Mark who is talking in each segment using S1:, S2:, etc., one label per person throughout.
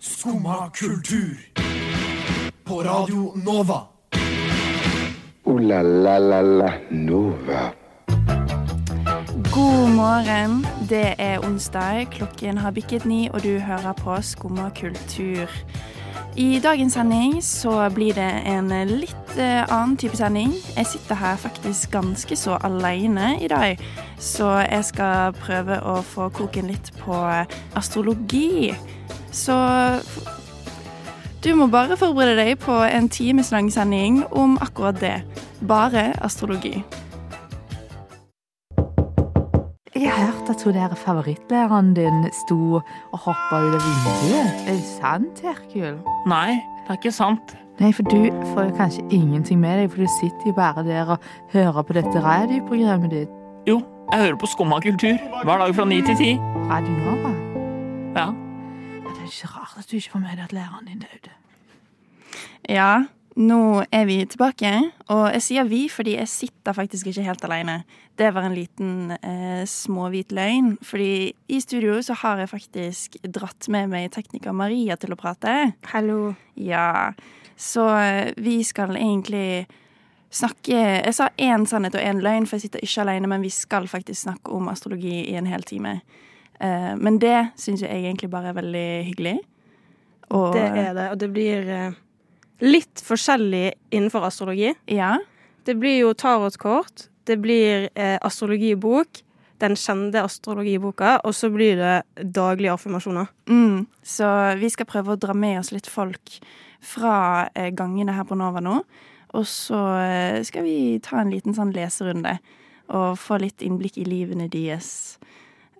S1: Skumma kultur. På Radio Nova.
S2: Ooh la la la la Nova.
S3: God morgen. Det er onsdag, klokken har bikket ni, og du hører på Skumma kultur. I dagens sending så blir det en litt eh, annen type sending. Jeg sitter her faktisk ganske så alene i dag, så jeg skal prøve å få koken litt på astrologi. Så du må bare forberede deg på en times lang sending om akkurat det. Bare astrologi.
S4: Jeg har hørt at hun der favorittlæreren din sto og hoppa ut av vinduet. Er det sant, Herkul?
S5: Nei, det er ikke sant.
S4: Nei, for du får jo kanskje ingenting med deg, for du sitter jo bare der og hører på dette radioprogrammet ditt.
S5: Jo, jeg hører på Skumma kultur hver dag fra ni til ti.
S4: Radio Nova.
S5: Ja.
S4: Ja, Det er ikke rart at du ikke får med deg at læreren din døde.
S3: Ja, nå er vi tilbake. Og jeg sier vi fordi jeg sitter faktisk ikke helt alene. Det var en liten eh, småhvit løgn. Fordi i studio så har jeg faktisk dratt med meg tekniker Maria til å prate.
S6: Hallo.
S3: Ja, så eh, vi skal egentlig snakke Jeg sa én sannhet og én løgn, for jeg sitter ikke alene, men vi skal faktisk snakke om astrologi i en hel time. Eh, men det syns jeg egentlig bare er veldig hyggelig. Og,
S6: Det er det, og det blir eh, litt forskjellig innenfor astrologi.
S3: Ja.
S6: Det blir jo tarotkort, det blir eh, astrologibok, den kjente astrologiboka, og så blir det daglige affirmasjoner.
S3: Mm, så vi skal prøve å dra med oss litt folk fra eh, gangene her på Nova nå. Og så eh, skal vi ta en liten sånn leserunde og få litt innblikk i livene deres.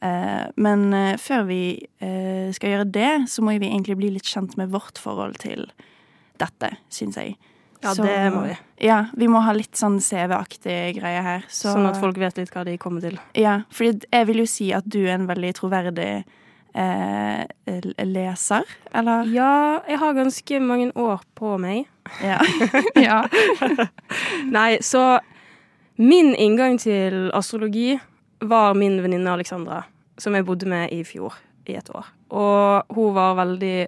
S3: Eh, men eh, før vi eh, skal gjøre det, så må vi egentlig bli litt kjent med vårt forhold til dette, syns jeg.
S6: Ja, det må vi.
S3: Ja, vi må ha litt sånn CV-aktig greie her. Så,
S6: Sånn at folk vet litt hva de kommer til.
S3: ja, fordi jeg vil jo si at du er en veldig troverdig eh, l- leser, eller?
S6: Ja, jeg har ganske mange år på meg.
S3: Ja. ja.
S6: Nei, så min inngang til astrologi var min venninne Alexandra, som jeg bodde med i fjor i et år. Og hun var veldig,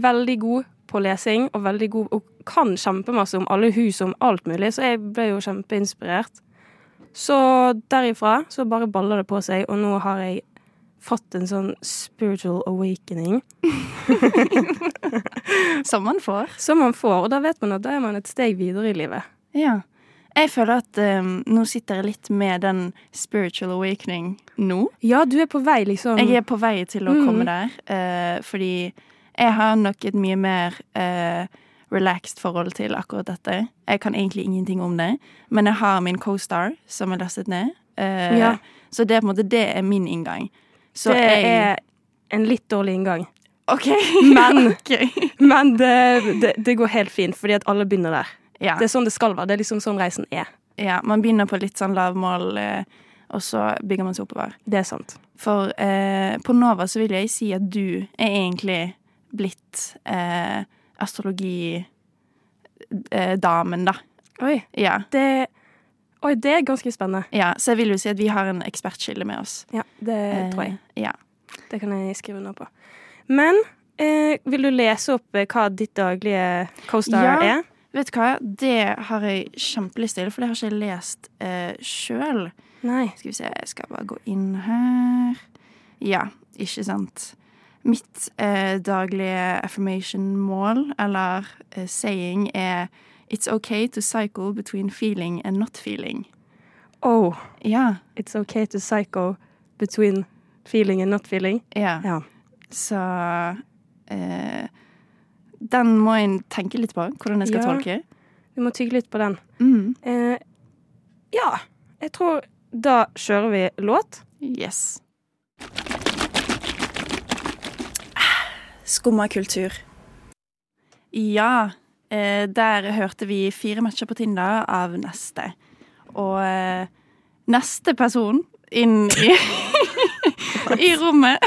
S6: veldig god på lesing, og veldig god og kan kjempemasse om alle hus og om alt mulig, så jeg ble jo kjempeinspirert. Så derifra så bare baller det på seg, og nå har jeg fått en sånn spiritual awakening
S3: Som man får.
S6: som man får, og da vet man at da er man et steg videre i livet.
S3: Ja. Jeg føler at eh, nå sitter jeg litt med den spiritual awakening nå.
S6: Ja, du er på vei, liksom.
S3: Jeg er på vei til å
S6: Mm.
S3: komme der, eh, fordi jeg har nok et mye mer eh, relaxed forhold til akkurat dette. Jeg kan egentlig ingenting om det, men jeg har min co-star som er lastet ned. eh,
S6: Ja.
S3: Så det er på en måte det er min inngang. Så
S6: det
S3: jeg,
S6: er en litt dårlig inngang.
S3: OK.
S6: Men-
S3: Ok.
S6: Men det, det, det går helt fint, fordi at alle begynner der.
S3: Ja.
S6: Det er sånn det skal være. Det er liksom sånn reisen er.
S3: ja. Man begynner på litt sånn lavmål, eh, og så bygger man seg oppover.
S6: Det er sant.
S3: For eh, på Nova så vil jeg si at du er egentlig blitt eh, astrologidamen, da.
S6: Oi,
S3: Ja.
S6: det, oi, det er ganske spennende.
S3: ja. Så jeg vil jo si at vi har en ekspertskilde med oss.
S6: Ja, det
S3: Eh,
S6: tror jeg.
S3: Ja.
S6: Det kan jeg skrive under på. Men eh, vil du lese opp eh, hva ditt daglige co-star
S3: Ja.
S6: er?
S3: Vet du hva, det har jeg kjempelyst til, for det har ikke jeg lest eh, sjøl.
S6: Nei.
S3: Skal vi se, jeg skal bare gå inn her. Ja, ikke sant. Mitt eh, daglige affirmation-mål, eller eh, saying, er It's okay to cycle between feeling and not feeling.
S6: Oh,
S3: Ja.
S6: it's okay to psycho between feeling and not feeling.
S3: ja.
S6: Ja.
S3: Så eh, Den må jeg tenke litt på, hvordan jeg skal
S6: Ja.
S3: tolke.
S6: Du må tygge litt på den.
S3: Mm.
S6: Eh, ja, jeg tror da kjører vi låt.
S3: Yes. Skumma kultur. Ja, eh, der hørte vi fire matcher på Tinder av neste. Og eh, neste person inn i, i rommet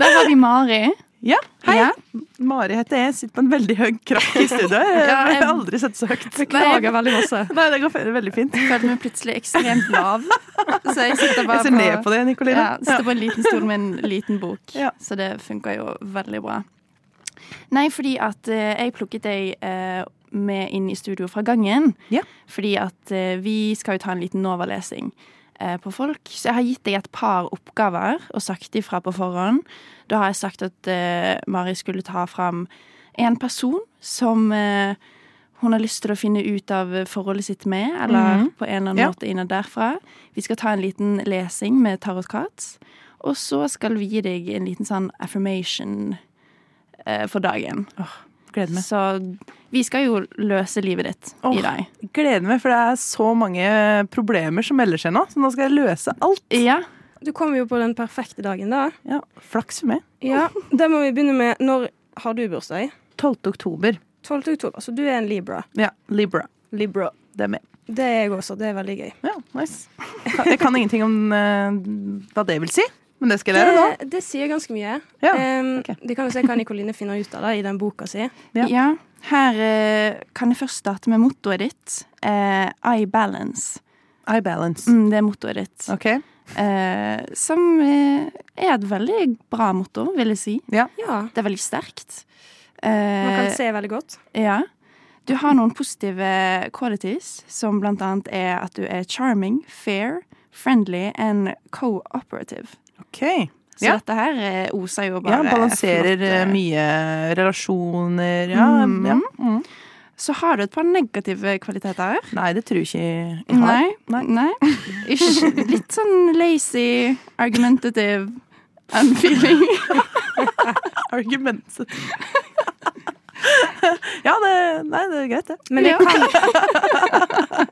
S3: Der har vi Mari.
S7: Ja,
S3: hei.
S7: Mari heter jeg. Sitter på en veldig høy krakk i studio. Jeg
S3: Ja, jeg-
S7: har aldri sett så høyt.
S6: Klager veldig masse.
S7: Nei, det går veldig fint.
S3: Jeg følte meg plutselig ekstremt lav. Så jeg sitter bare
S7: Jeg ser ned på det, Nicolina.
S3: Ja, sitter på en liten stol med en liten bok.
S7: Ja.
S3: Så det funka jo veldig bra. Nei, fordi at eh, jeg plukket deg eh, med inn i studio fra gangen.
S7: Ja.
S3: Fordi at eh, vi skal jo ta en liten Nova-lesing eh, på folk. Så jeg har gitt deg et par oppgaver og sagt ifra på forhånd. Da har jeg sagt at eh, Mari skulle ta fram en person som eh, hun har lyst til å finne ut av eh, forholdet sitt med, eller på en eller annen
S7: Ja.
S3: måte innad derfra. Vi skal ta en liten lesing med Tarot Cards, og så skal vi gi deg en liten sånn affirmation eh, for dagen.
S7: Gleder meg.
S3: Så vi skal jo løse livet ditt
S7: Åh.
S3: i dag.
S7: Gleder meg, for det er så mange problemer som melder seg nå. Så nå skal jeg løse alt.
S3: Ja.
S6: Du kommer jo på den perfekte dagen, da.
S7: Ja, Flaks for meg.
S6: Ja, Da må vi begynne med Når har du bursdag?
S7: 12. oktober.
S6: 12. oktober. Så du er en Libra.
S7: Ja, Libra. Libra. Det er meg.
S6: Det er jeg også. Det er veldig gøy.
S7: Ja, nice. Jeg kan ingenting om eh, hva det vil si, men det eh, skal jeg lære nå.
S6: Det, det sier ganske mye.
S7: Ja,
S6: Em,
S7: ok.
S6: Det kan jo se hva Nikoline finner ut av da, i den boka si.
S7: Ja.
S3: ja. Her eh, kan jeg først starte med mottoet ditt. Eh, I balance.
S7: I balance.
S3: Mm, det er mottoet ditt.
S7: OK.
S3: Eh, som eh, er et veldig bra motto, vil jeg si.
S6: Ja,
S3: Det er veldig sterkt.
S6: Man
S3: Eh,
S6: kan se veldig godt.
S3: Ja. Du har noen positive qualities, som blant annet er at du er charming, fair, friendly and cooperative.
S7: ok.
S3: Så
S7: Ja.
S3: dette her eh, oser jo
S7: Ja,
S3: bare
S7: balanserer
S3: flott,
S7: eh,
S3: eh.
S7: mye relasjoner. Ja,
S3: Mhm.
S7: ja. mhm.
S3: Så har du et par negative kvaliteter.
S7: Nei, det tror jeg ikke jeg har.
S3: Nei. Nei. Ish, litt sånn lazy, argumentative unfeeling.
S7: Argumentet. ja, det, nei, det er greit, det.
S6: Men det kan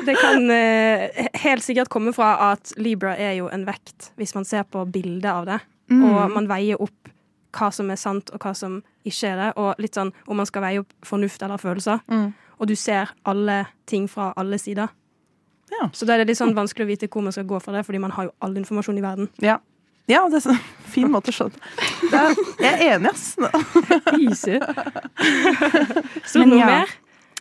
S6: Det kan eh, helt sikkert komme fra at Libra er jo en vekt, hvis man ser på bildet av det.
S3: Mm.
S6: Og man veier opp hva som er sant, og hva som ikke er det. Og litt sånn om man skal veie opp fornuft eller følelser.
S3: Mm.
S6: Og du ser alle ting fra alle sider.
S7: Ja.
S6: Så da er det litt sånn vanskelig å vite hvor man skal gå for det, fordi man har jo all informasjon i verden.
S7: Ja. Ja, det er så fin måte å se det på. Det er- Jeg er enig, ass.
S6: Easy. Så
S3: Men
S6: noe
S3: ja.
S6: mer?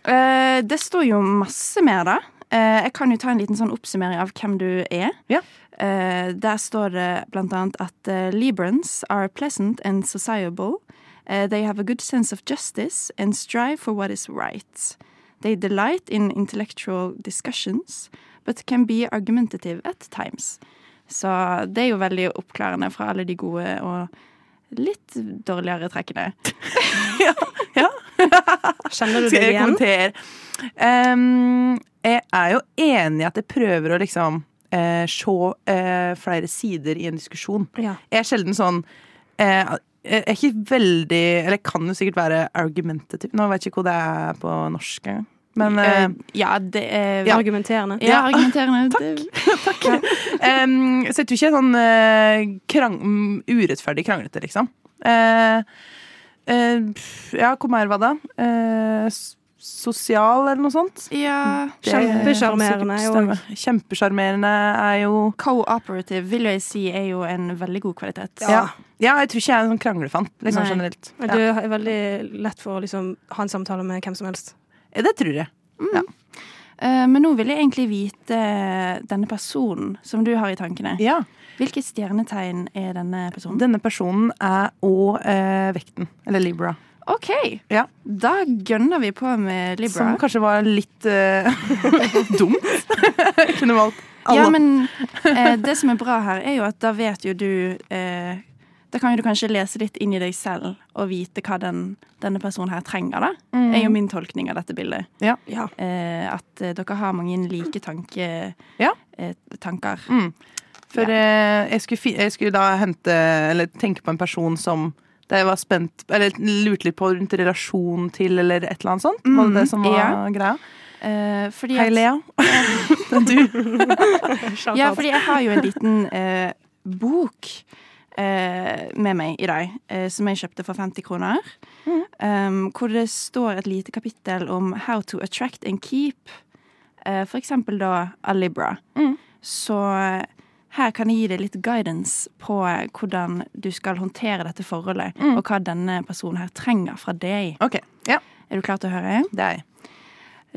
S3: Eh, det står jo masse mer, da. Eh, jeg kan jo ta en liten sånn oppsummering av hvem du er.
S7: Ja.
S3: Eh, der står det blant annet at eh, Librans are pleasant and sociable. Eh, they have a good sense of justice and strive for what is right. They delight in intellectual discussions, but can be argumentative at times. Så det er jo veldig oppklarende fra alle de gode og litt dårligere trekkene.
S6: Kjenner du
S7: Skal
S6: deg
S7: jeg
S6: igjen?
S7: kommentere? Ehm, jeg er jo enig i at jeg prøver å liksom eh, se eh, flere sider i en diskusjon.
S6: Ja.
S7: Jeg er sjelden sånn eh, Jeg er ikke veldig Eller jeg kan jo sikkert være argumentativ. Nå vet jeg ikke hvor det er på norsk engang. Men eh,
S3: Eh, ja, det er
S6: Argumenterende.
S3: Ja, argumenterende. Takk.
S7: Em, så jeg tror ikke jeg er sånn eh, krang, mm, urettferdig kranglete, liksom. Eh, eh, pff, ja, hvor mer var det? Eh, s- sosial, eller noe sånt?
S3: Ja.
S7: Det
S6: Kjempesjarmerende
S7: kan
S6: er jo-
S7: sikkert stemme. Kjempesjarmerende er jo
S3: Cooperative vil jeg si er jo en veldig god kvalitet.
S7: ja. ja, jeg tror ikke jeg er en sånn kranglefant, liksom
S3: Nei.
S7: generelt.
S6: Men
S7: Ja.
S6: Du er veldig lett for å liksom ha en samtale med hvem som helst.
S7: Det tror jeg.
S3: Eh, Men nå vil jeg egentlig vite denne personen som du har i tankene.
S7: Ja.
S3: Hvilket stjernetegn er denne personen?
S7: Sånn. Denne personen er òg eh, vekten, eller Libra.
S3: OK!
S7: Ja.
S3: Da gønner vi på med Libra.
S7: Som kanskje var litt eh, dumt. Jeg Kunne valgt alle.
S3: Ja, men eh, det som er bra her, er jo at da vet jo du eh, Da kan jo du kanskje lese litt inn i deg selv og vite hva den, denne personen her trenger, da. er jo min tolkning av dette bildet.
S7: Mm. Ja.
S6: Ja.
S3: Eh, at eh, dere har mange like tanke,
S7: Ja. Mm.
S3: eh, tanker.
S7: For eh, jeg, skulle fi, jeg skulle da hente Eller tenke på en person som det jeg var spent Eller lurte litt på rundt relasjon til, eller et eller annet sånt. Var det det som
S3: Mm,
S7: var
S3: ja.
S7: greia?
S3: Eh, fordi
S7: Hei,
S3: at-
S7: Lea. du.
S3: Ja, fordi jeg har jo en liten eh, bok eh, med meg i dag, eh, som jeg kjøpte for 50 kroner. em, hvor det står et lite kapittel om how to attract and keep eh, for eksempel da Alibra. Så Her kan jeg gi deg litt guidance på eh, hvordan du skal håndtere dette forholdet, og hva denne personen her trenger fra deg.
S7: OK. Ja,
S3: Er du klar til å høre?
S7: det er jeg.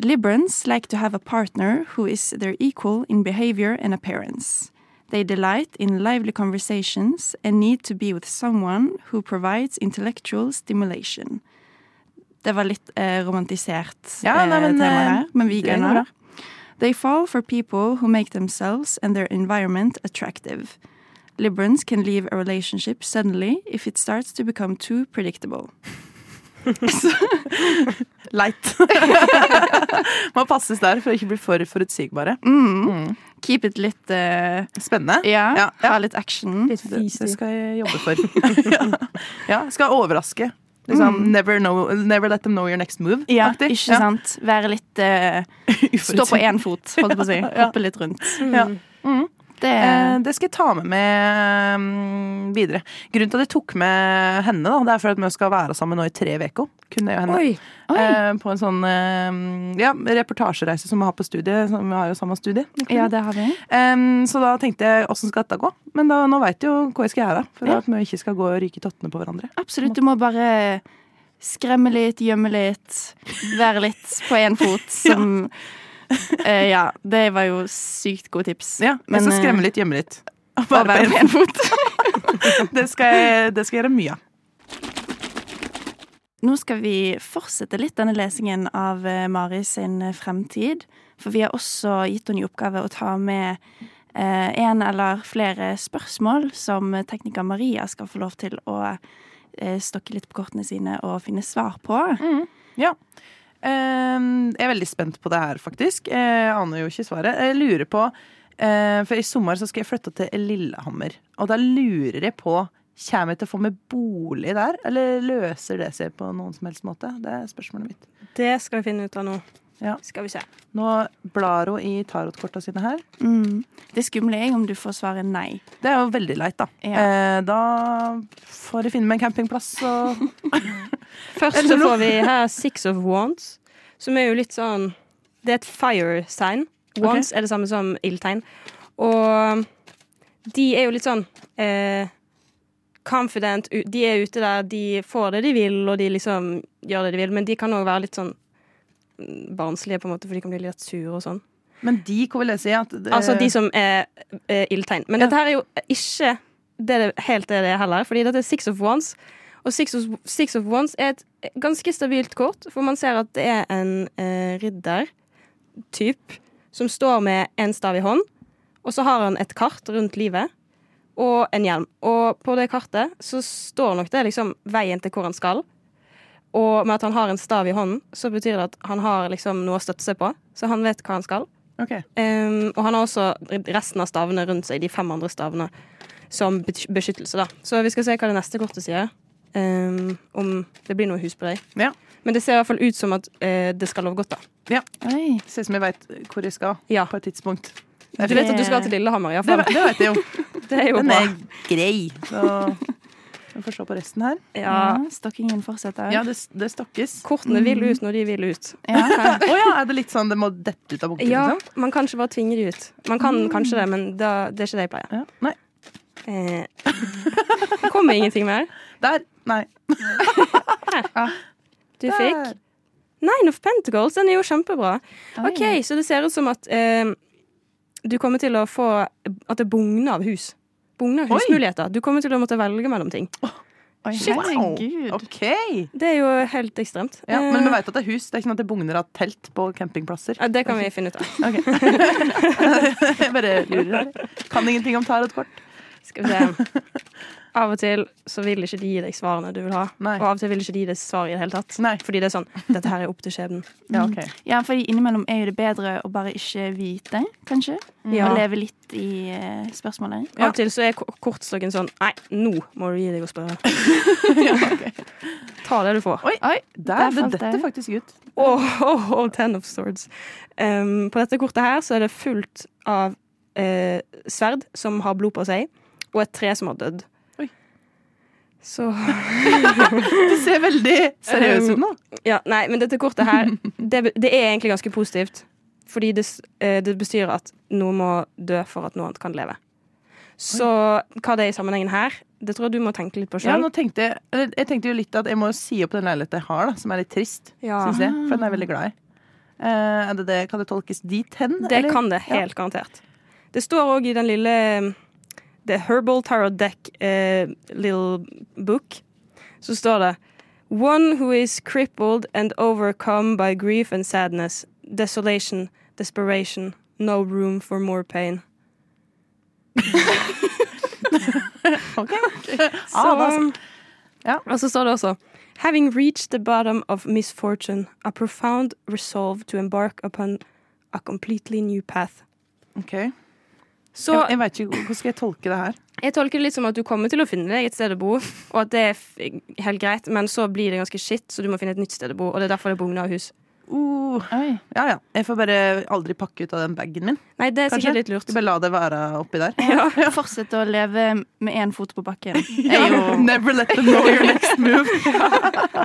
S3: Liberals like to have a partner who is their equal in behavior and appearance. They delight in lively conversations and need to be with someone who provides intellectual stimulation. Det var litt eh, romantisert
S7: Ja, nei,
S3: eh,
S7: men,
S3: tema
S7: eh,
S3: her, men vi
S7: det går
S3: gunner.
S7: bra.
S3: They fall for people who make themselves and their environment attractive. Liberals can leave a relationship suddenly if it starts to become too predictable.
S7: Leit. Må passes der for å ikke bli for forutsigbare.
S3: Keep it litt eh,
S7: Spennende.
S3: Mm. Ja,
S7: Ja, ja.
S3: ha litt action.
S7: Det, det skal jeg jobbe for. ja. ja, skal overraske. Liksom, never, know, never let them know your next move.
S3: Mm. Ja,
S7: aktig.
S3: ikke sant? Være litt eh, Stå på én fot, holdt jeg på å si. Hoppe litt rundt. Mm.
S7: Ja.
S3: Det,
S7: Eh, det skal jeg ta med meg mm, videre. Grunnen til at jeg tok med henne, da, det er for at vi skal være sammen nå i tre uker. Kun jeg og henne.
S6: Oi.
S7: Eh, på en sånn eh, ja, reportasjereise som vi har på studiet. Som vi har jo samme studie.
S3: ja, det har vi.
S7: Em, så da tenkte jeg åssen skal dette gå? Men da, nå veit jeg jo hva jeg skal gjøre. For
S3: Ja.
S7: at vi ikke skal gå og ryke tottene på hverandre.
S3: Absolutt. Du må bare skremme litt, gjemme litt, være litt på én fot, som Eh, Ja, det var jo sykt gode tips.
S7: Ja,
S3: Men,
S7: Men så
S3: eh,
S7: skremme litt, gjemme litt.
S3: Å være på én fot.
S7: Det skal, jeg, det skal jeg gjøre mye av.
S3: Nå skal vi fortsette litt denne lesingen av eh, Mari sin eh, fremtid. For vi har også gitt henne i oppgave å ta med eh, en eller flere spørsmål som tekniker Maria skal få lov til å eh, stokke litt på kortene sine og finne svar på.
S7: Ja. Em, jeg er veldig spent på det her, faktisk. Jeg aner jo ikke svaret. Jeg lurer på eh, For i sommer så skal jeg flytte til Lillehammer. Og da lurer jeg på Kommer jeg til å få meg bolig der, eller løser det seg på noen som helst måte? Det er spørsmålet mitt.
S6: Det skal vi finne ut av nå.
S7: Ja.
S6: Skal vi se.
S7: Nå blar hun i tarotkorta sine her.
S3: Mm. Det skumle er jo om du får svaret nei.
S7: Det er jo veldig leit, da.
S3: Ja.
S7: Eh, da får jeg finne meg en campingplass og
S6: Først så får vi her Six of Wands, som er jo litt sånn Det er et fire-tegn. Wands er det samme som ildtegn. Og de er jo litt sånn eh, confident. u- De er ute der, de får det de vil, og de liksom gjør det de vil, men de kan òg være litt sånn mm, barnslige, på en måte, for de kan bli litt sure og sånn.
S7: Men de, hva vil jeg si? At det,
S6: Altså de som er eh, ildtegn. Men
S7: Ja.
S6: dette her er jo ikke det det helt det det er heller, fordi dette er Six of Wands. Og Six of, Six of Wands er et ganske stabilt kort, for man ser at det er en eh, ridder-typ som står med en stav i hånd, og så har han et kart rundt livet og en hjelm. Og på det kartet så står nok det liksom veien til hvor han skal. Og med at han har en stav i hånden, så betyr det at han har liksom noe å støtte seg på. Så han vet hva han skal.
S7: Ok.
S6: Ehm, og han har også resten av stavene rundt seg, de fem andre stavene, som bet- beskyttelse. da. Så vi skal se hva det neste kortet sier. ehm, om det blir noe husbrei.
S7: Ja.
S6: Men det ser i hvert fall ut som at eh, det skal love godt, da.
S3: Oi.
S7: Ser ut som jeg veit hvor jeg skal
S6: Ja.
S7: på et tidspunkt.
S6: Du vet at du skal til Lillehammer,
S7: Det,
S6: iallfall.
S7: ve- det veit jeg jo.
S6: Det er jo
S7: Den
S6: bra.
S7: er grei. Så vi får se på resten her.
S6: Ja.
S3: Stokkingen fortsetter.
S7: Ja, det, det stokkes.
S6: Kortene vil ut når de vil ut.
S7: Å ja, er det litt sånn det må dette ut av bunken?
S6: Ja,
S7: Liksom?
S6: Man kan ikke bare tvinge de ut. Man kan kanskje det, men da, det er ikke det jeg pleier.
S7: Ja. Nei.
S6: Eh. Kommer ingenting mer.
S7: Der. Nei.
S6: Du fikk Nine of Pentacles. Den er jo kjempebra. OK, så det ser ut som at eh, du kommer til å få At det bugner av hus. Bugner av
S7: Oi.
S6: husmuligheter. Du kommer til å måtte velge mellom ting.
S3: Oi,
S6: Shit.
S3: herregud.
S7: OK!
S6: Det er jo helt ekstremt.
S7: Ja,
S6: Eh,
S7: men vi veit at det er hus. Det er ikke noe at det bugner av telt på campingplasser.
S6: ja, det kan vi finne ut av.
S7: Jeg bare lurer her. Kan ingenting om tarotkort.
S6: Skal vi se. Av og til så vil ikke de gi deg svarene du vil ha.
S7: Nei.
S6: Og av og til vil ikke de gi deg svar i det hele tatt.
S7: Nei.
S6: Fordi det er sånn Dette her er opp til skjebnen.
S7: Ja, ok.
S3: Ja, fordi innimellom er jo det bedre å bare ikke vite, kanskje.
S6: Ja.
S3: Og leve litt i eh, spørsmålet.
S6: Av og til så er ko- kortstokken sånn Nei, nå må du gi deg og spørre. Ta det du får.
S7: Oi, der,
S3: der
S7: det
S3: falt
S7: detter
S3: det.
S7: faktisk ut.
S6: Oh, oh, oh, ten of swords. Ehm, på dette kortet her så er det fullt av eh, sverd som har blod på seg, og et tre som har dødd.
S7: Oi.
S6: Så
S7: Det ser veldig seriøst ut nå.
S6: Ja, nei, men dette kortet her, det, be- det er egentlig ganske positivt. Fordi det, s- eh, det bestyr at noe må dø for at noe annet kan leve. Så hva det er i sammenhengen her, det tror jeg du må tenke litt på
S7: Ja,
S6: sjøl.
S7: nå tenkte jeg, eller, jeg tenkte jo litt at jeg må jo si opp den leiligheten jeg har, da, som er litt trist.
S6: Ja.
S7: Synes jeg, for den er
S8: Ah.
S7: jeg veldig glad i. Eh, er det det, kan det tolkes dit hen?
S6: Det kan det, helt garantert. Det står òg i den lille The Herbal Tarot Deck eh, Little Book. Så står det One who is crippled and overcome by grief and sadness, desolation, desperation, no room for more pain. Så, um,
S7: Ah, da så. Ja.
S6: Og så står det også Having reached the bottom of misfortune, a profound resolve to embark upon a completely new path.
S7: Ok.
S6: Så
S7: jeg, jeg vet ikke, Hvordan skal jeg tolke det her?
S6: Jeg tolker det litt som at du kommer til å finne deg et sted å bo, og at det er f helt greit, men så blir det ganske shit, så du må finne et nytt sted å bo, og det er derfor det bugner av hus.
S7: Uh, ja, ja. Jeg får bare aldri pakke ut av den bagen min.
S6: Nei, det er
S7: Kanskje?
S6: sikkert litt lurt.
S7: Skal bare la det være oppi der.
S3: Fortsett å leve med én fot på bakken.
S7: Ja. Never let them know your next move.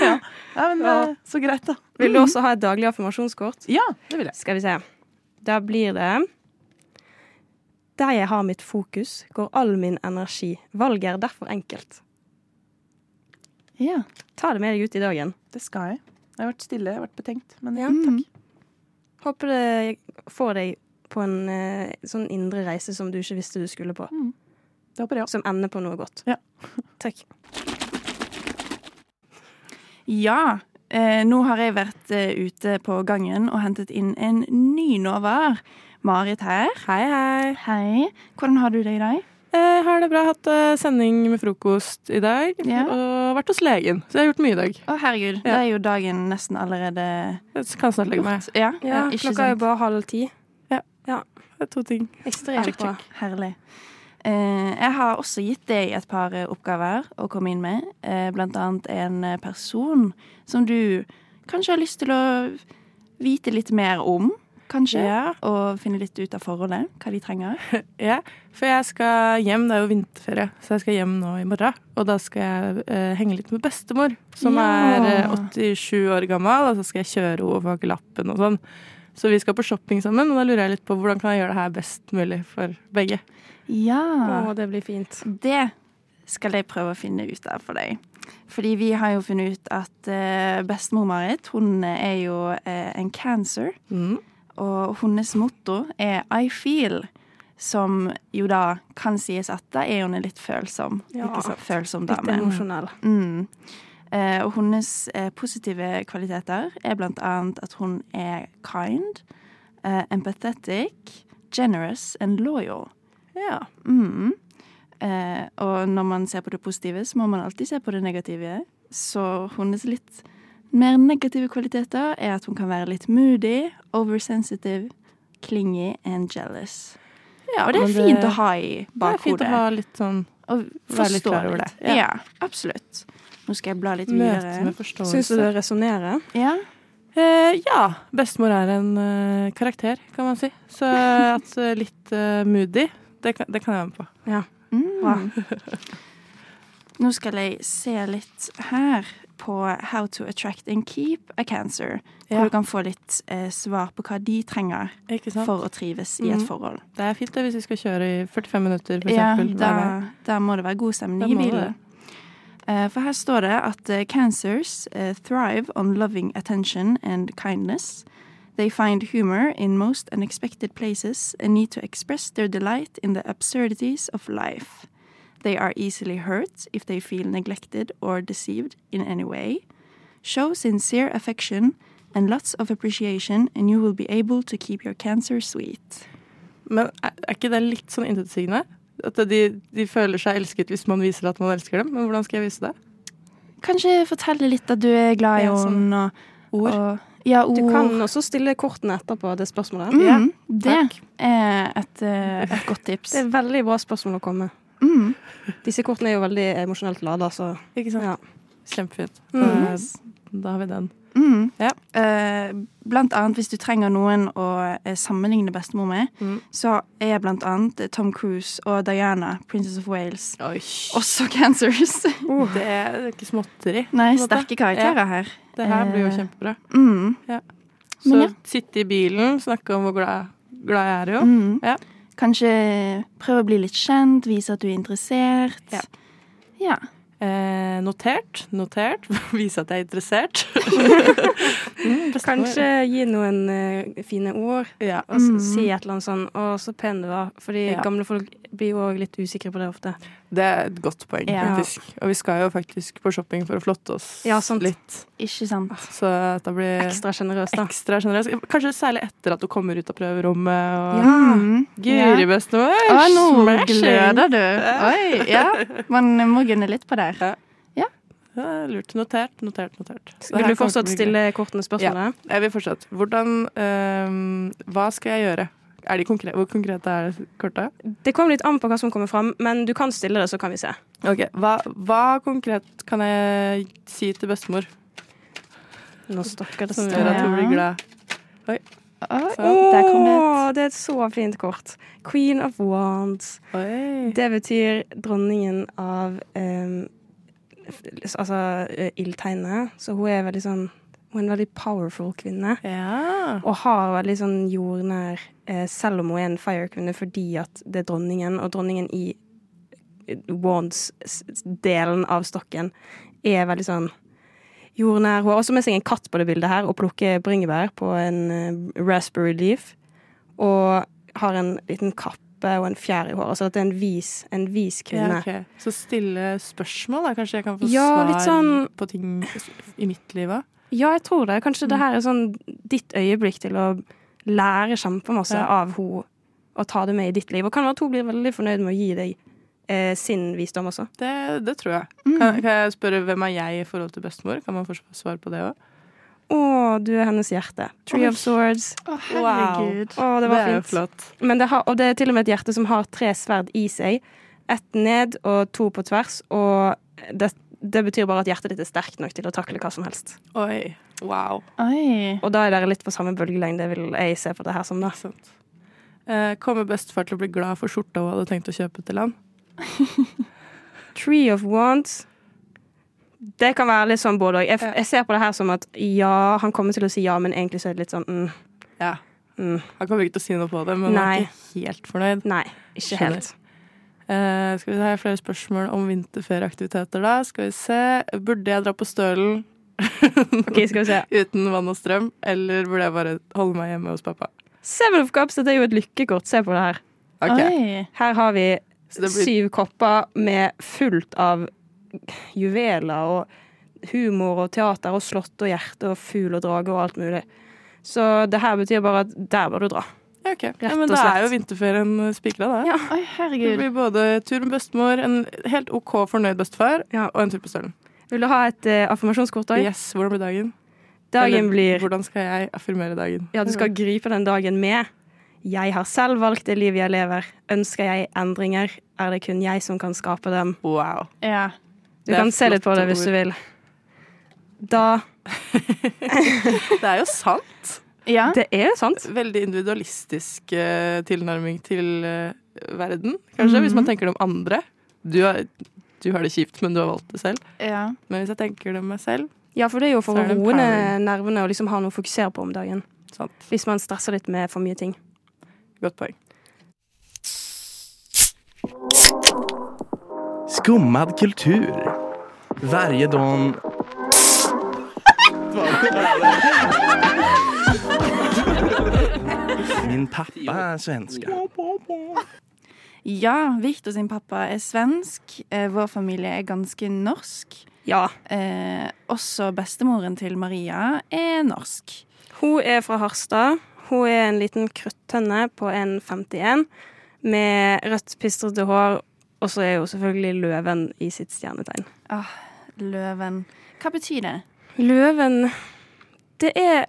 S7: ja. ja, men
S6: Ja.
S7: eh, så greit, da.
S6: Vil du også ha et daglig affirmasjonskort?
S7: Ja, det vil jeg.
S6: Skal vi se. Da blir det Der jeg har mitt fokus, går all min energi. Valget er derfor enkelt.
S7: Ja,
S6: Ta det med deg ut i dagen.
S7: Det skal jeg. Jeg har vært stille, jeg har vært betenkt. Men
S6: Ja,
S8: Mm.
S6: Håper det får deg på en eh, sånn indre reise som du ikke visste du skulle på.
S7: det håper jeg også.
S6: Som ender på noe godt.
S7: Ja.
S6: Takk.
S3: Ja. Eh, nå har jeg vært eh, ute på gangen og hentet inn en ny Novar. Marit her.
S8: Hei, hei.
S3: Hei. Hvordan har du det i dag?
S8: Eh, har det bra. Hatt eh, sending med frokost i dag.
S3: Ja.
S8: Og vært hos legen. Så jeg har gjort mye i dag.
S3: Å, herregud.
S8: Ja.
S3: Da er jo dagen nesten allerede
S8: Jeg kan snart legge meg.
S3: gjort. Ja,
S6: Ja,
S3: ikke
S6: klokka er jo
S3: sant?
S6: bare halv ti.
S8: Det er to ting.
S6: Ekstremt
S8: Check,
S6: bra.
S3: Herlig. Eh, jeg har også gitt deg et par eh, oppgaver å komme inn med. Eh, blant annet en eh, person som du kanskje har lyst til å vite litt mer om. Kanskje. Og finne litt ut av forholdet. Hva de trenger.
S8: Ja, for jeg skal hjem. Det er jo vinterferie, så jeg skal hjem nå i morgen. Og da skal jeg eh, henge litt med bestemor, som
S3: Ja.
S8: er eh, 87 år gammel. Og så skal jeg kjøre henne og pakke lappen og sånn. Så vi skal på shopping sammen, og da lurer jeg litt på hvordan kan jeg gjøre det her best mulig for begge.
S3: Ja.
S6: Å, det blir fint.
S3: Det skal jeg prøve å finne ut av for deg. Fordi vi har jo funnet ut at eh, bestemor Marit hun er jo eh, en cancer.
S8: Mm.
S3: Og hennes motto er 'I feel', som jo da kan sies at da er hun en litt følsom,
S6: Ja.
S3: ikke sant? følsom
S6: Litt
S3: dame.
S6: emosjonell.
S3: Mm. Eh, og hennes eh, positive kvaliteter er blant annet at hun er kind, eh, empathetic, generous and loyal.
S8: Ja.
S3: Mm. Eh, og når man ser på det positive, så må man alltid se på det negative. Så hennes litt mer negative kvaliteter er at hun kan være litt moody, oversensitive, clingy and jealous.
S8: Ja,
S3: Og det
S8: men
S3: er fint å ha i
S8: Det er fint
S3: bakhodet.
S8: å ha litt sånn
S3: Og
S8: Være litt
S3: forstå
S8: klar over
S3: litt.
S8: det. Ja.
S3: Ja. absolutt. Nå skal jeg bla litt
S8: møte
S3: videre.
S8: med forståelse.
S6: Syns du det resonnerer?
S3: Ja.
S8: Eh, ja. Bestemor er en eh, karakter, kan man si. Så at eh, litt eh, moody, det kan, det kan jeg være med på.
S3: Mm. Nå skal jeg se litt her på How to attract and keep a cancer. Hvor
S8: Ja.
S3: du kan få litt eh, svar på hva de trenger
S8: Ikke sant?
S3: for å trives i et
S8: Mhm.
S3: forhold.
S8: Det er fint det hvis vi skal kjøre i 45 minutter, for
S3: Ja,
S8: eksempel.
S3: da,
S8: hver vei.
S3: da må det være god stemning
S8: Da
S3: i
S8: må det
S3: bilen. Eh, For her står det at eh, cancers eh, thrive on loving attention and kindness. They find humor in most unexpected places and need to express their delight in the absurdities of life. They are easily hurt if they feel neglected or deceived in any way. Show sincere affection and lots of appreciation, and you will be able to keep your cancer sweet.
S8: Men er, er ikke det litt sånn intetsigende? At de, de føler seg elsket hvis man viser at man elsker dem. Men hvordan skal jeg vise det?
S3: Kanskje fortelle litt at du er glad i
S8: Ja, sånn
S3: henne, og
S8: Ord.
S3: Og, ja, ord.
S6: Du kan også stille kortene etterpå, det spørsmålet.
S3: mm,
S8: Ja,
S3: Det er et, eh, et godt tips.
S6: Det er veldig bra spørsmål å komme med.
S3: Mm.
S6: Disse kortene er jo veldig emosjonelt lada, så
S8: Ikke sant?
S6: ja.
S8: Kjempefint.
S6: Mm.
S8: Eh, Da har vi den.
S3: Mm.
S8: Ja.
S3: Eh, blant annet hvis du trenger noen å eh, sammenligne bestemor med,
S8: Mm.
S3: så er blant annet eh, Tom Cruise og Diana, Princess of Wales,
S8: Oi.
S3: også cancers.
S8: Det er ikke småtteri.
S3: Nei,
S8: på en måte.
S3: sterke karakterer her.
S8: Det her blir
S3: Eh,
S8: jo kjempebra.
S3: Mm.
S8: Så
S3: men ja.
S8: sitte i bilen, snakke om hvor glad, glad jeg er i henne.
S3: Mm.
S8: Ja.
S3: Kanskje prøve å bli litt kjent, vise at du er interessert.
S8: Ja.
S3: Ja.
S8: Eh, notert, notert. Vise at jeg er interessert. Mm, bestemor.
S6: Kanskje gi noen eh, fine ord,
S8: Ja.
S6: og så
S3: Mm.
S6: si et eller annet sånn 'Å, så pen du var', fordi
S8: Ja.
S6: gamle folk blir jo òg litt usikre på det ofte.
S8: Det er et godt poeng,
S3: Ja.
S8: faktisk. Og vi skal jo faktisk på shopping for å flotte oss
S6: Ja, sant.
S8: litt.
S3: Ikke sant.
S8: Så da blir
S6: Ekstra sjenerøs, da.
S8: ekstra generøs. Kanskje særlig etter at du kommer ut av prøverommet. Og
S3: Mm.
S8: Guri
S3: Ja.
S8: bestemor!
S3: Å, nå
S8: smashing!
S3: gløder du. Oi, ja. Man må gunne litt på der.
S8: Ja, lurt. Notert, notert, notert. Så det her
S6: Vil du fortsatt
S8: kommer til å bli
S6: stille kortene spørsmålet?
S8: gøy. Jeg vil fortsatt. Hvordan øhm, Hva skal jeg gjøre? Er de konkre Hvor konkret er det kortet?
S6: Det kommer litt an på hva som kommer fram, men du kan stille det, så kan vi se.
S8: Ok, Hva, hva konkret kan jeg si til bestemor
S6: Nå stokker det
S8: som gjør at hun
S3: Ja.
S8: blir glad?
S3: Oi,
S8: Sånn.
S3: der kom det et.
S6: Åh, det er et så fint kort. Queen of Wands.
S8: Oi.
S6: Det betyr dronningen av em, f- Altså eh, ildtegnet. Så hun er veldig sånn Hun er en veldig powerful kvinne.
S8: Ja.
S6: Og har veldig sånn jordnær eh, Selv om hun er en fire-kvinne fordi at det er dronningen, og dronningen i eh, wands-delen av stokken er veldig sånn jordnær. Hun har også med seg en katt på det bildet her og plukker bringebær på en eh, raspberry leaf. Og har en liten kappe og en fjær i håret. Så at det er en vis, en vis
S8: Ja,
S6: kvinne.
S8: ok. Så stille spørsmål, da. Kanskje jeg kan få
S6: Ja,
S8: svar
S6: litt sånn-
S8: på ting i mitt liv òg?
S6: Ja, jeg tror det. Kanskje
S8: Mm.
S6: det her er sånn ditt øyeblikk til å lære kjempemasse
S8: Ja.
S6: av henne og ta det med i ditt liv. Og kan være at hun blir veldig fornøyd med å gi deg eh, sin visdom også.
S8: Det, det tror jeg.
S6: Mm.
S8: Kan, kan jeg spørre hvem er jeg i forhold til bestemor? Kan man få svar på det òg?
S6: Å, du er hennes hjerte. Tree of Swords.
S3: Å, herregud.
S6: Å, det var
S8: er jo
S6: fint.
S8: flott.
S6: Men det har, og det er til og med et hjerte som har tre sverd i seg. Ett ned og to på tvers. Og det, det betyr bare at hjertet ditt er sterkt nok til å takle hva som helst.
S8: Oi. Wow.
S3: Oi.
S6: Og da er dere litt på samme bølgelengde, vil jeg se på det her som. da.
S8: Eh, kommer bestefar til å bli glad for skjorta hun hadde tenkt å kjøpe til han?
S6: Tree of Wands Det kan være litt sånn både og. Jeg, jeg ser på det her som at ja, han kommer til å si ja, men egentlig så er det litt sånn mm,
S8: Ja.
S6: Mm.
S8: Han kommer ikke til å si noe på det, men han
S6: Nei.
S8: er ikke helt fornøyd.
S6: nei, ikke
S8: Skjønner.
S6: helt.
S8: Eh, skal vi se, her er flere spørsmål om vinterferieaktiviteter da. Skal vi se. Burde jeg dra på Stølen
S6: OK, skal vi se.
S8: uten vann og strøm, eller burde jeg bare holde meg hjemme hos pappa?
S6: Seven of Cups, dette er jo et lykkekort. Se på det her.
S8: Ok.
S3: Oi.
S6: Her har vi
S8: Så det blir
S6: syv kopper med fullt av juveler og humor og teater og slott og hjerte og fugl og drage og alt mulig. Så det her betyr bare at der bør du dra.
S8: ja, ok.
S6: rett
S8: ja, men
S6: og
S8: da er jo
S6: slett.
S8: vinterferien spikra, da.
S3: Oi,
S8: Det
S3: herregud.
S8: blir både tur med bestemor, en helt OK fornøyd bestefar, og en tur på Stølen.
S6: Vil du ha et eh, affirmasjonskort? Dag?
S8: Yes, hvordan blir dagen?
S6: Dagen blir
S8: Eller, Hvordan skal jeg affirmere dagen?
S6: Ja, du skal gripe den dagen med. Jeg har selv valgt det livet jeg lever. Ønsker jeg endringer, er det kun jeg som kan skape dem.
S8: Wow.
S3: Ja.
S6: Du
S8: Det er
S6: kan se litt på
S8: flotte
S6: det hvis
S8: ord.
S6: du vil. Da
S8: Det er jo sant.
S3: ja.
S6: Det er sant.
S8: Veldig individualistisk eh, tilnærming til eh, verden, kanskje, hvis
S6: Mhm.
S8: man tenker det om andre. Du har, du har det kjipt, men du har valgt det selv.
S3: Ja.
S8: Men hvis jeg tenker det om meg selv
S6: Ja, for det er jo for
S8: Så
S6: å
S8: er det
S6: roe ned
S8: empowering.
S6: nervene og liksom ha noe å fokusere på om dagen.
S8: Sant.
S6: Hvis man stresser litt med for mye ting.
S8: Godt poeng.
S9: Skummad kultur. Varje dag... Min pappa är svenska.
S3: Ja, Victor sin pappa er svensk. Eh, vår familie er ganske norsk.
S6: Ja.
S3: Eh, også bestemoren til Maria er norsk.
S6: Hun er fra Harstad. Hun er en liten kruttønne på 1,51 med rødt, pistrete hår. Og så er hun selvfølgelig løven i sitt stjernetegn.
S3: Ah, løven. Hva betyr det?
S6: Løven Det er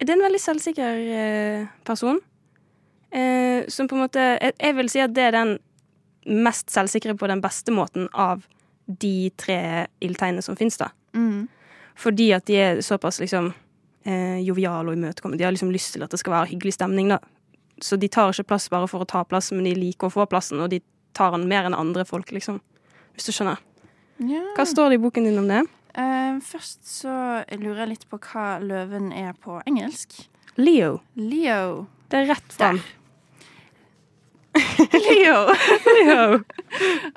S6: Det er en veldig selvsikker eh, person. Eh, som på en måte jeg, jeg vil si at det er den mest selvsikre på den beste måten av de tre ildtegnene som fins, da.
S3: Mm.
S6: Fordi at de er såpass liksom eh, joviale og imøtekommende. De har liksom lyst til at det skal være hyggelig stemning, da. Så de tar ikke plass bare for å ta plass, men de liker å få plassen, og de tar den mer enn andre folk, liksom. Hvis du skjønner.
S3: Ja.
S6: Hva står det i boken din om det?
S3: Eh, først så lurer jeg litt på hva løven er på engelsk.
S6: Leo.
S3: Leo.
S6: Det er rett fram. Leo. Leo.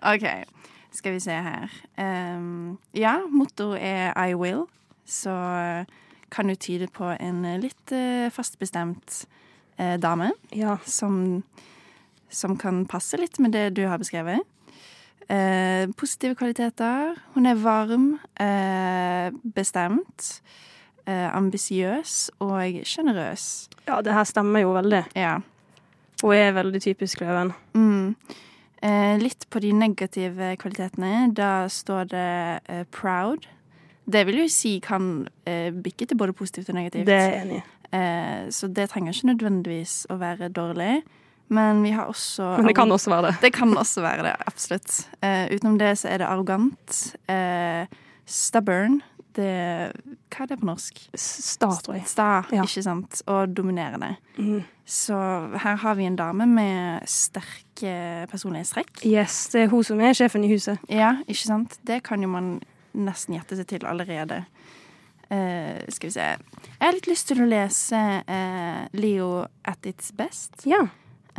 S3: OK, skal vi se her. Ehm, ja, motto er I will, så eh, kan jo tyde på en litt eh, fastbestemt eh, dame
S6: Ja.
S3: som, som kan passe litt med det du har beskrevet. Eh, positive kvaliteter. Hun er varm, eh, bestemt, eh, ambisiøs og sjenerøs.
S6: ja, det her stemmer jo veldig.
S3: Ja.
S6: Hun er veldig typisk Løven.
S3: Mm. Eh, litt på de negative kvalitetene. Da står det eh, proud. Det vil jo si kan eh, bikke til både positivt og negativt.
S6: Det er jeg enig i.
S3: Eh, så det trenger ikke nødvendigvis å være dårlig. Men vi har også
S6: Men det kan også være det.
S3: Det kan også være det, absolutt. Eh, utenom det så er det arrogant. Eh, stubborn. Det Hva er det på norsk?
S6: Sta, tror jeg.
S3: Sta,
S6: Ja.
S3: ikke sant? Og dominerende.
S6: Mhm.
S3: Så her har vi en dame med sterke personlighetstrekk.
S6: Yes, det er hun som er sjefen i huset.
S3: Ja, ikke sant? Det kan jo man nesten gjette seg til allerede. Eh, skal vi se Jeg har litt lyst til å lese eh, Leo at its best.
S6: Ja.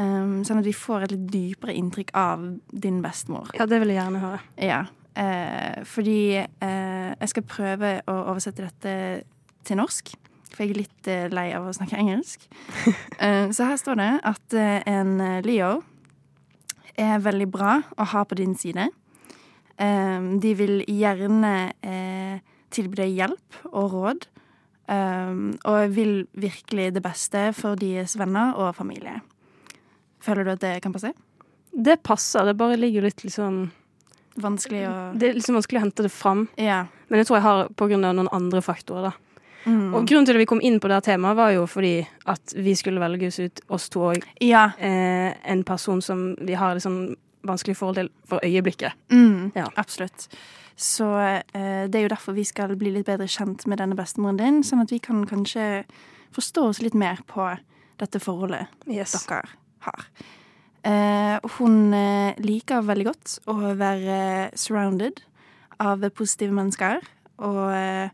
S3: Um, sånn at vi får et litt dypere inntrykk av din bestemor.
S6: ja, det vil jeg gjerne høre.
S3: Ja. Eh, fordi eh, jeg skal prøve å oversette dette til norsk. For jeg er litt eh, lei av å snakke engelsk. Eh, så her står det at eh, en eh, Leo er veldig bra å ha på din side. Eh, de vil gjerne eh, tilby deg hjelp og råd. eh, og vil virkelig det beste for deres venner og familie. Føler du at det kan passe?
S6: Det passer. Det bare ligger litt liksom
S3: Vanskelig å
S6: Det er liksom vanskelig å hente det fram.
S3: Ja.
S6: Men jeg tror jeg har på grunn av noen andre faktorer, da.
S3: Mm.
S6: Og grunnen til at vi kom inn på det her temaet, var jo fordi at vi skulle velges ut, oss to og
S3: ja.
S6: eh, en person som vi har liksom vanskelig forhold til for øyeblikket.
S3: Mm,
S6: Ja.
S3: Absolutt. Så eh, det er jo derfor vi skal bli litt bedre kjent med denne bestemoren din, sånn at vi kan kanskje forstå oss litt mer på dette forholdet
S6: Yes.
S3: dere har. Eh, hun eh, liker veldig godt å være eh, surrounded av positive mennesker, og eh,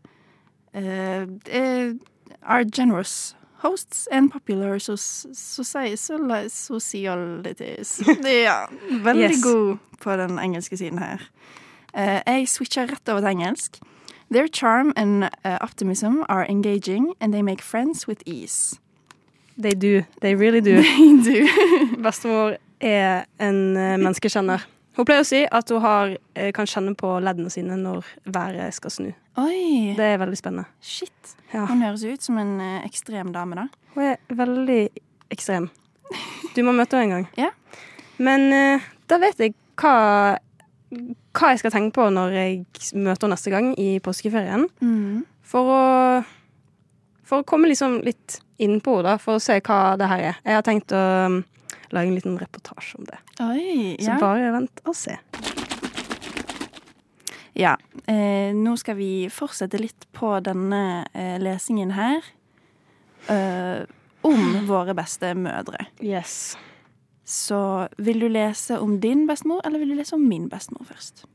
S3: eh, eh, are generous hosts and popular sos society- socialities. Ja, veldig
S6: Yes.
S3: god på den engelske siden her. Eh, jeg switcher rett over til engelsk. Their charm and eh, optimism are engaging, and they make friends with ease.
S6: They do. They really do.
S3: Du.
S6: Bestemor er en eh, menneskekjenner. Hun pleier å si at hun har, eh, kan kjenne på leddene sine når været skal snu.
S3: Oi!
S6: Det er veldig spennende.
S3: Shit.
S6: Ja.
S3: Hun høres jo ut som en eh, ekstrem dame, da.
S6: Hun er veldig ekstrem. Du må møte henne en gang.
S3: Ja.
S6: Men eh, da vet jeg hva, hva jeg skal tenke på når jeg møter henne neste gang i påskeferien. For å, for å komme liksom litt inn på henne, da, for å se hva det her er. Jeg har tenkt å um, lage en liten reportasje om det.
S3: Oi,
S6: Så
S3: ja.
S6: bare vent og se.
S3: ja. Eh, nå skal vi fortsette litt på denne eh, lesingen her eh, om våre beste mødre.
S6: Yes.
S3: Så vil du lese om din bestemor, eller vil du lese om min bestemor først?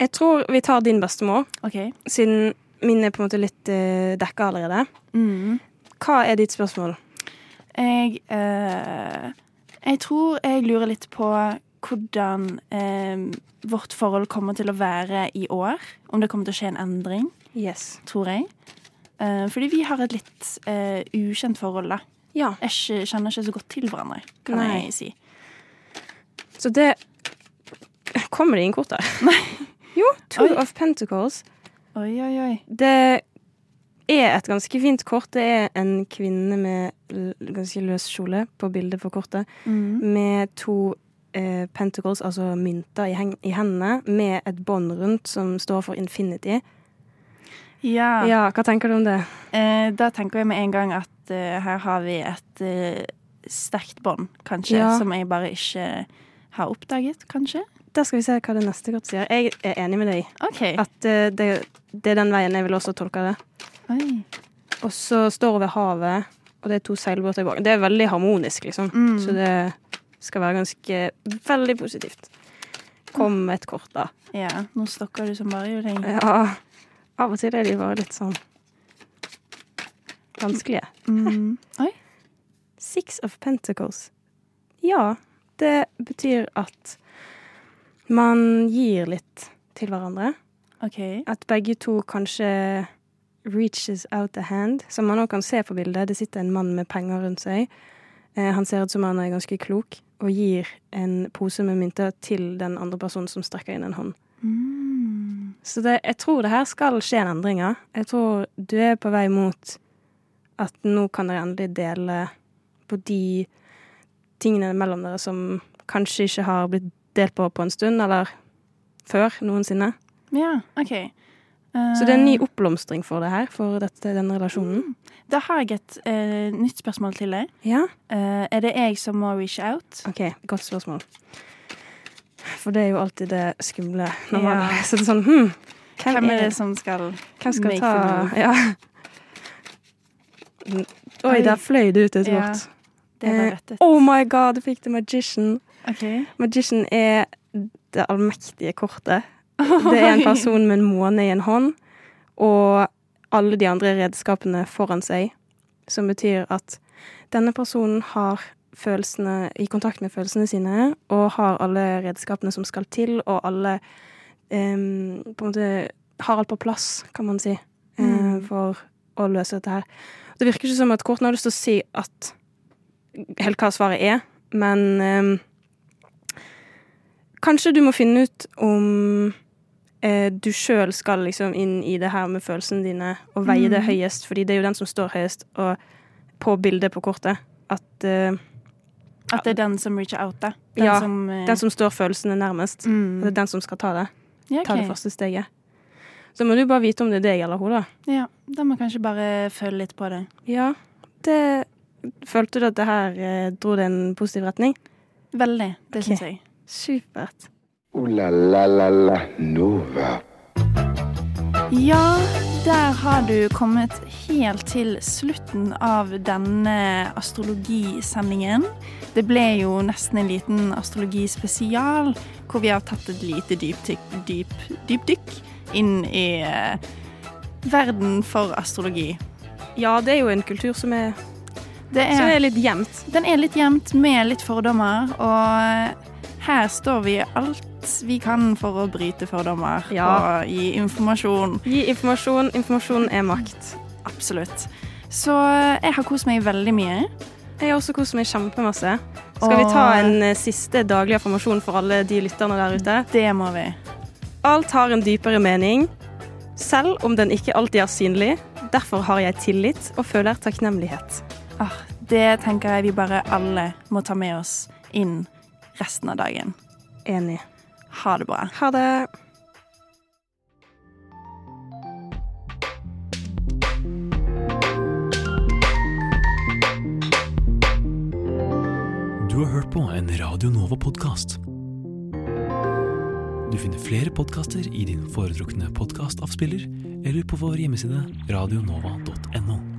S6: Jeg tror vi tar din bestemor,
S3: OK.
S6: siden min er på en måte litt eh, dekka allerede.
S3: Mm.
S6: Hva er ditt spørsmål?
S3: Jeg eh, Jeg tror jeg lurer litt på hvordan eh, vårt forhold kommer til å være i år. Om det kommer til å skje en endring.
S6: Yes.
S3: tror jeg. Eh, fordi vi har et litt eh, ukjent forhold, da.
S6: Ja.
S3: Jeg ikke- kjenner ikke så godt til hverandre, kan
S6: Nei.
S3: jeg si.
S6: Så det Kommer det inn kort der? Nei. Jo, Two
S3: Oi.
S6: of Pentacles.
S3: Oi, oi, oi.
S6: Det er et ganske fint kort. Det er en kvinne med l- ganske løs kjole på bildet på kortet,
S3: Mm.
S6: med to eh, pentacles, altså mynter, i, heng i hendene, med et bånd rundt som står for infinity.
S3: Ja.
S6: Ja, hva tenker du om det?
S3: Eh, da tenker jeg med en gang at eh, her har vi et eh, sterkt bånd, kanskje,
S6: Ja.
S3: som jeg bare ikke har oppdaget, kanskje.
S6: Da skal vi se hva det neste kort sier. Jeg er enig med deg
S3: OK.
S6: at eh, det, det er den veien jeg vil også tolke det.
S3: Oi.
S6: Og så står hun ved havet, og det er to seilbåter i bakgrunnen. Det er veldig harmonisk, liksom.
S3: Mm.
S6: Så det skal være ganske veldig positivt. Kom med et kort, da.
S3: Ja, nå stokker du som bare gjør det.
S6: Ja, av og til er de bare litt sånn vanskelige.
S3: Mm. Oi.
S6: Six of Pentacles. Ja, det betyr at man gir litt til hverandre.
S3: OK.
S6: At begge to kanskje reaches out a hand, som man også kan se på bildet. Det sitter en mann med penger rundt seg. Eh, han ser ut som han er ganske klok, og gir en pose med mynter til den andre personen som strekker inn en hånd. Så det, jeg tror det her skal skje en endring. ja. Jeg tror du er på vei mot at nå kan dere endelig dele på de tingene mellom dere som kanskje ikke har blitt delt på på en stund, eller før noensinne.
S3: Ja, OK.
S6: Så det er en
S3: Eh.
S6: ny oppblomstring for det her, for dette, denne
S3: Mm.
S6: relasjonen.
S3: Da har jeg et eh, nytt spørsmål til deg.
S6: Ja,
S3: Eh, er det jeg som må reach out?
S6: ok, godt spørsmål. For det er jo alltid det skumle når man
S3: Ja.
S6: er sånn sånn hm, hvem,
S3: Hvem
S6: er,
S3: er det som skal
S6: hvem skal
S3: make
S6: ta
S3: the
S6: ja. Mm, Oi,
S3: Oi.
S6: der fløy det ut et
S3: Ja,
S6: vårt.
S3: Det var
S6: Eh,
S3: rettet.
S6: Oh my god, du fikk The Magician.
S3: OK.
S6: Magician er det allmektige kortet. Det er en person med en måne i en hånd, og alle de andre redskapene foran seg, som betyr at denne personen har følelsene i kontakt med følelsene sine, og har alle redskapene som skal til, og alle em, på en måte har alt på plass, kan man si, eh,
S3: Mm.
S6: for å løse dette her. Det virker ikke som at kortene har lyst til å si at helt hva svaret er, men em, Kanskje du må finne ut om eh, du sjøl skal liksom inn i det her med følelsene dine og veie
S3: Mm.
S6: det høyest, fordi det er jo den som står høyest og på bildet på kortet. At eh,
S3: At det er den som reacher out, da. Den
S6: Ja,
S3: som, eh,
S6: den som står følelsene nærmest,
S3: Mm.
S6: det er den som skal ta det.
S3: ja,
S6: Ta
S3: ok.
S6: det første steget. Så må du bare vite om det er deg eller hun, da.
S3: Ja, da må jeg kanskje bare føle litt på det.
S6: Ja, det Følte du at det her eh, dro det i en positiv retning?
S3: Veldig. Det
S6: Ok.
S3: syns jeg.
S6: Supert.
S2: Ooh la la la la Nova.
S3: Ja, der har du kommet helt til slutten av denne astrologisendingen. Det ble jo nesten en liten astrologispesial, hvor vi har tatt et lite dypdykk dyp, dypdykk inn i eh, verden for astrologi.
S6: Ja, det er jo en kultur som er,
S3: Det
S6: som
S3: er,
S6: er litt gjemt.
S3: den er litt gjemt med litt fordommer, og her står vi alt vi kan for å bryte fordommer
S6: Ja.
S3: og gi informasjon.
S6: Gi informasjon. Informasjon er makt.
S3: Absolutt. Så jeg har kost meg veldig mye.
S6: Jeg har også kost meg kjempemasse. Skal vi ta en eh, siste daglig informasjon for alle de lytterne der ute?
S3: Det må vi.
S6: Alt har en dypere mening, selv om den ikke alltid er synlig. Derfor har jeg tillit og føler takknemlighet.
S3: Ah, det tenker jeg vi bare alle må ta med oss inn resten av dagen.
S6: Enig.
S3: Ha det bra.
S6: Ha det.
S1: Du har hørt på en Radio Nova-podkast. Du finner flere podkaster i din foretrukne podkastavspiller eller på vår hjemmeside radionova.no.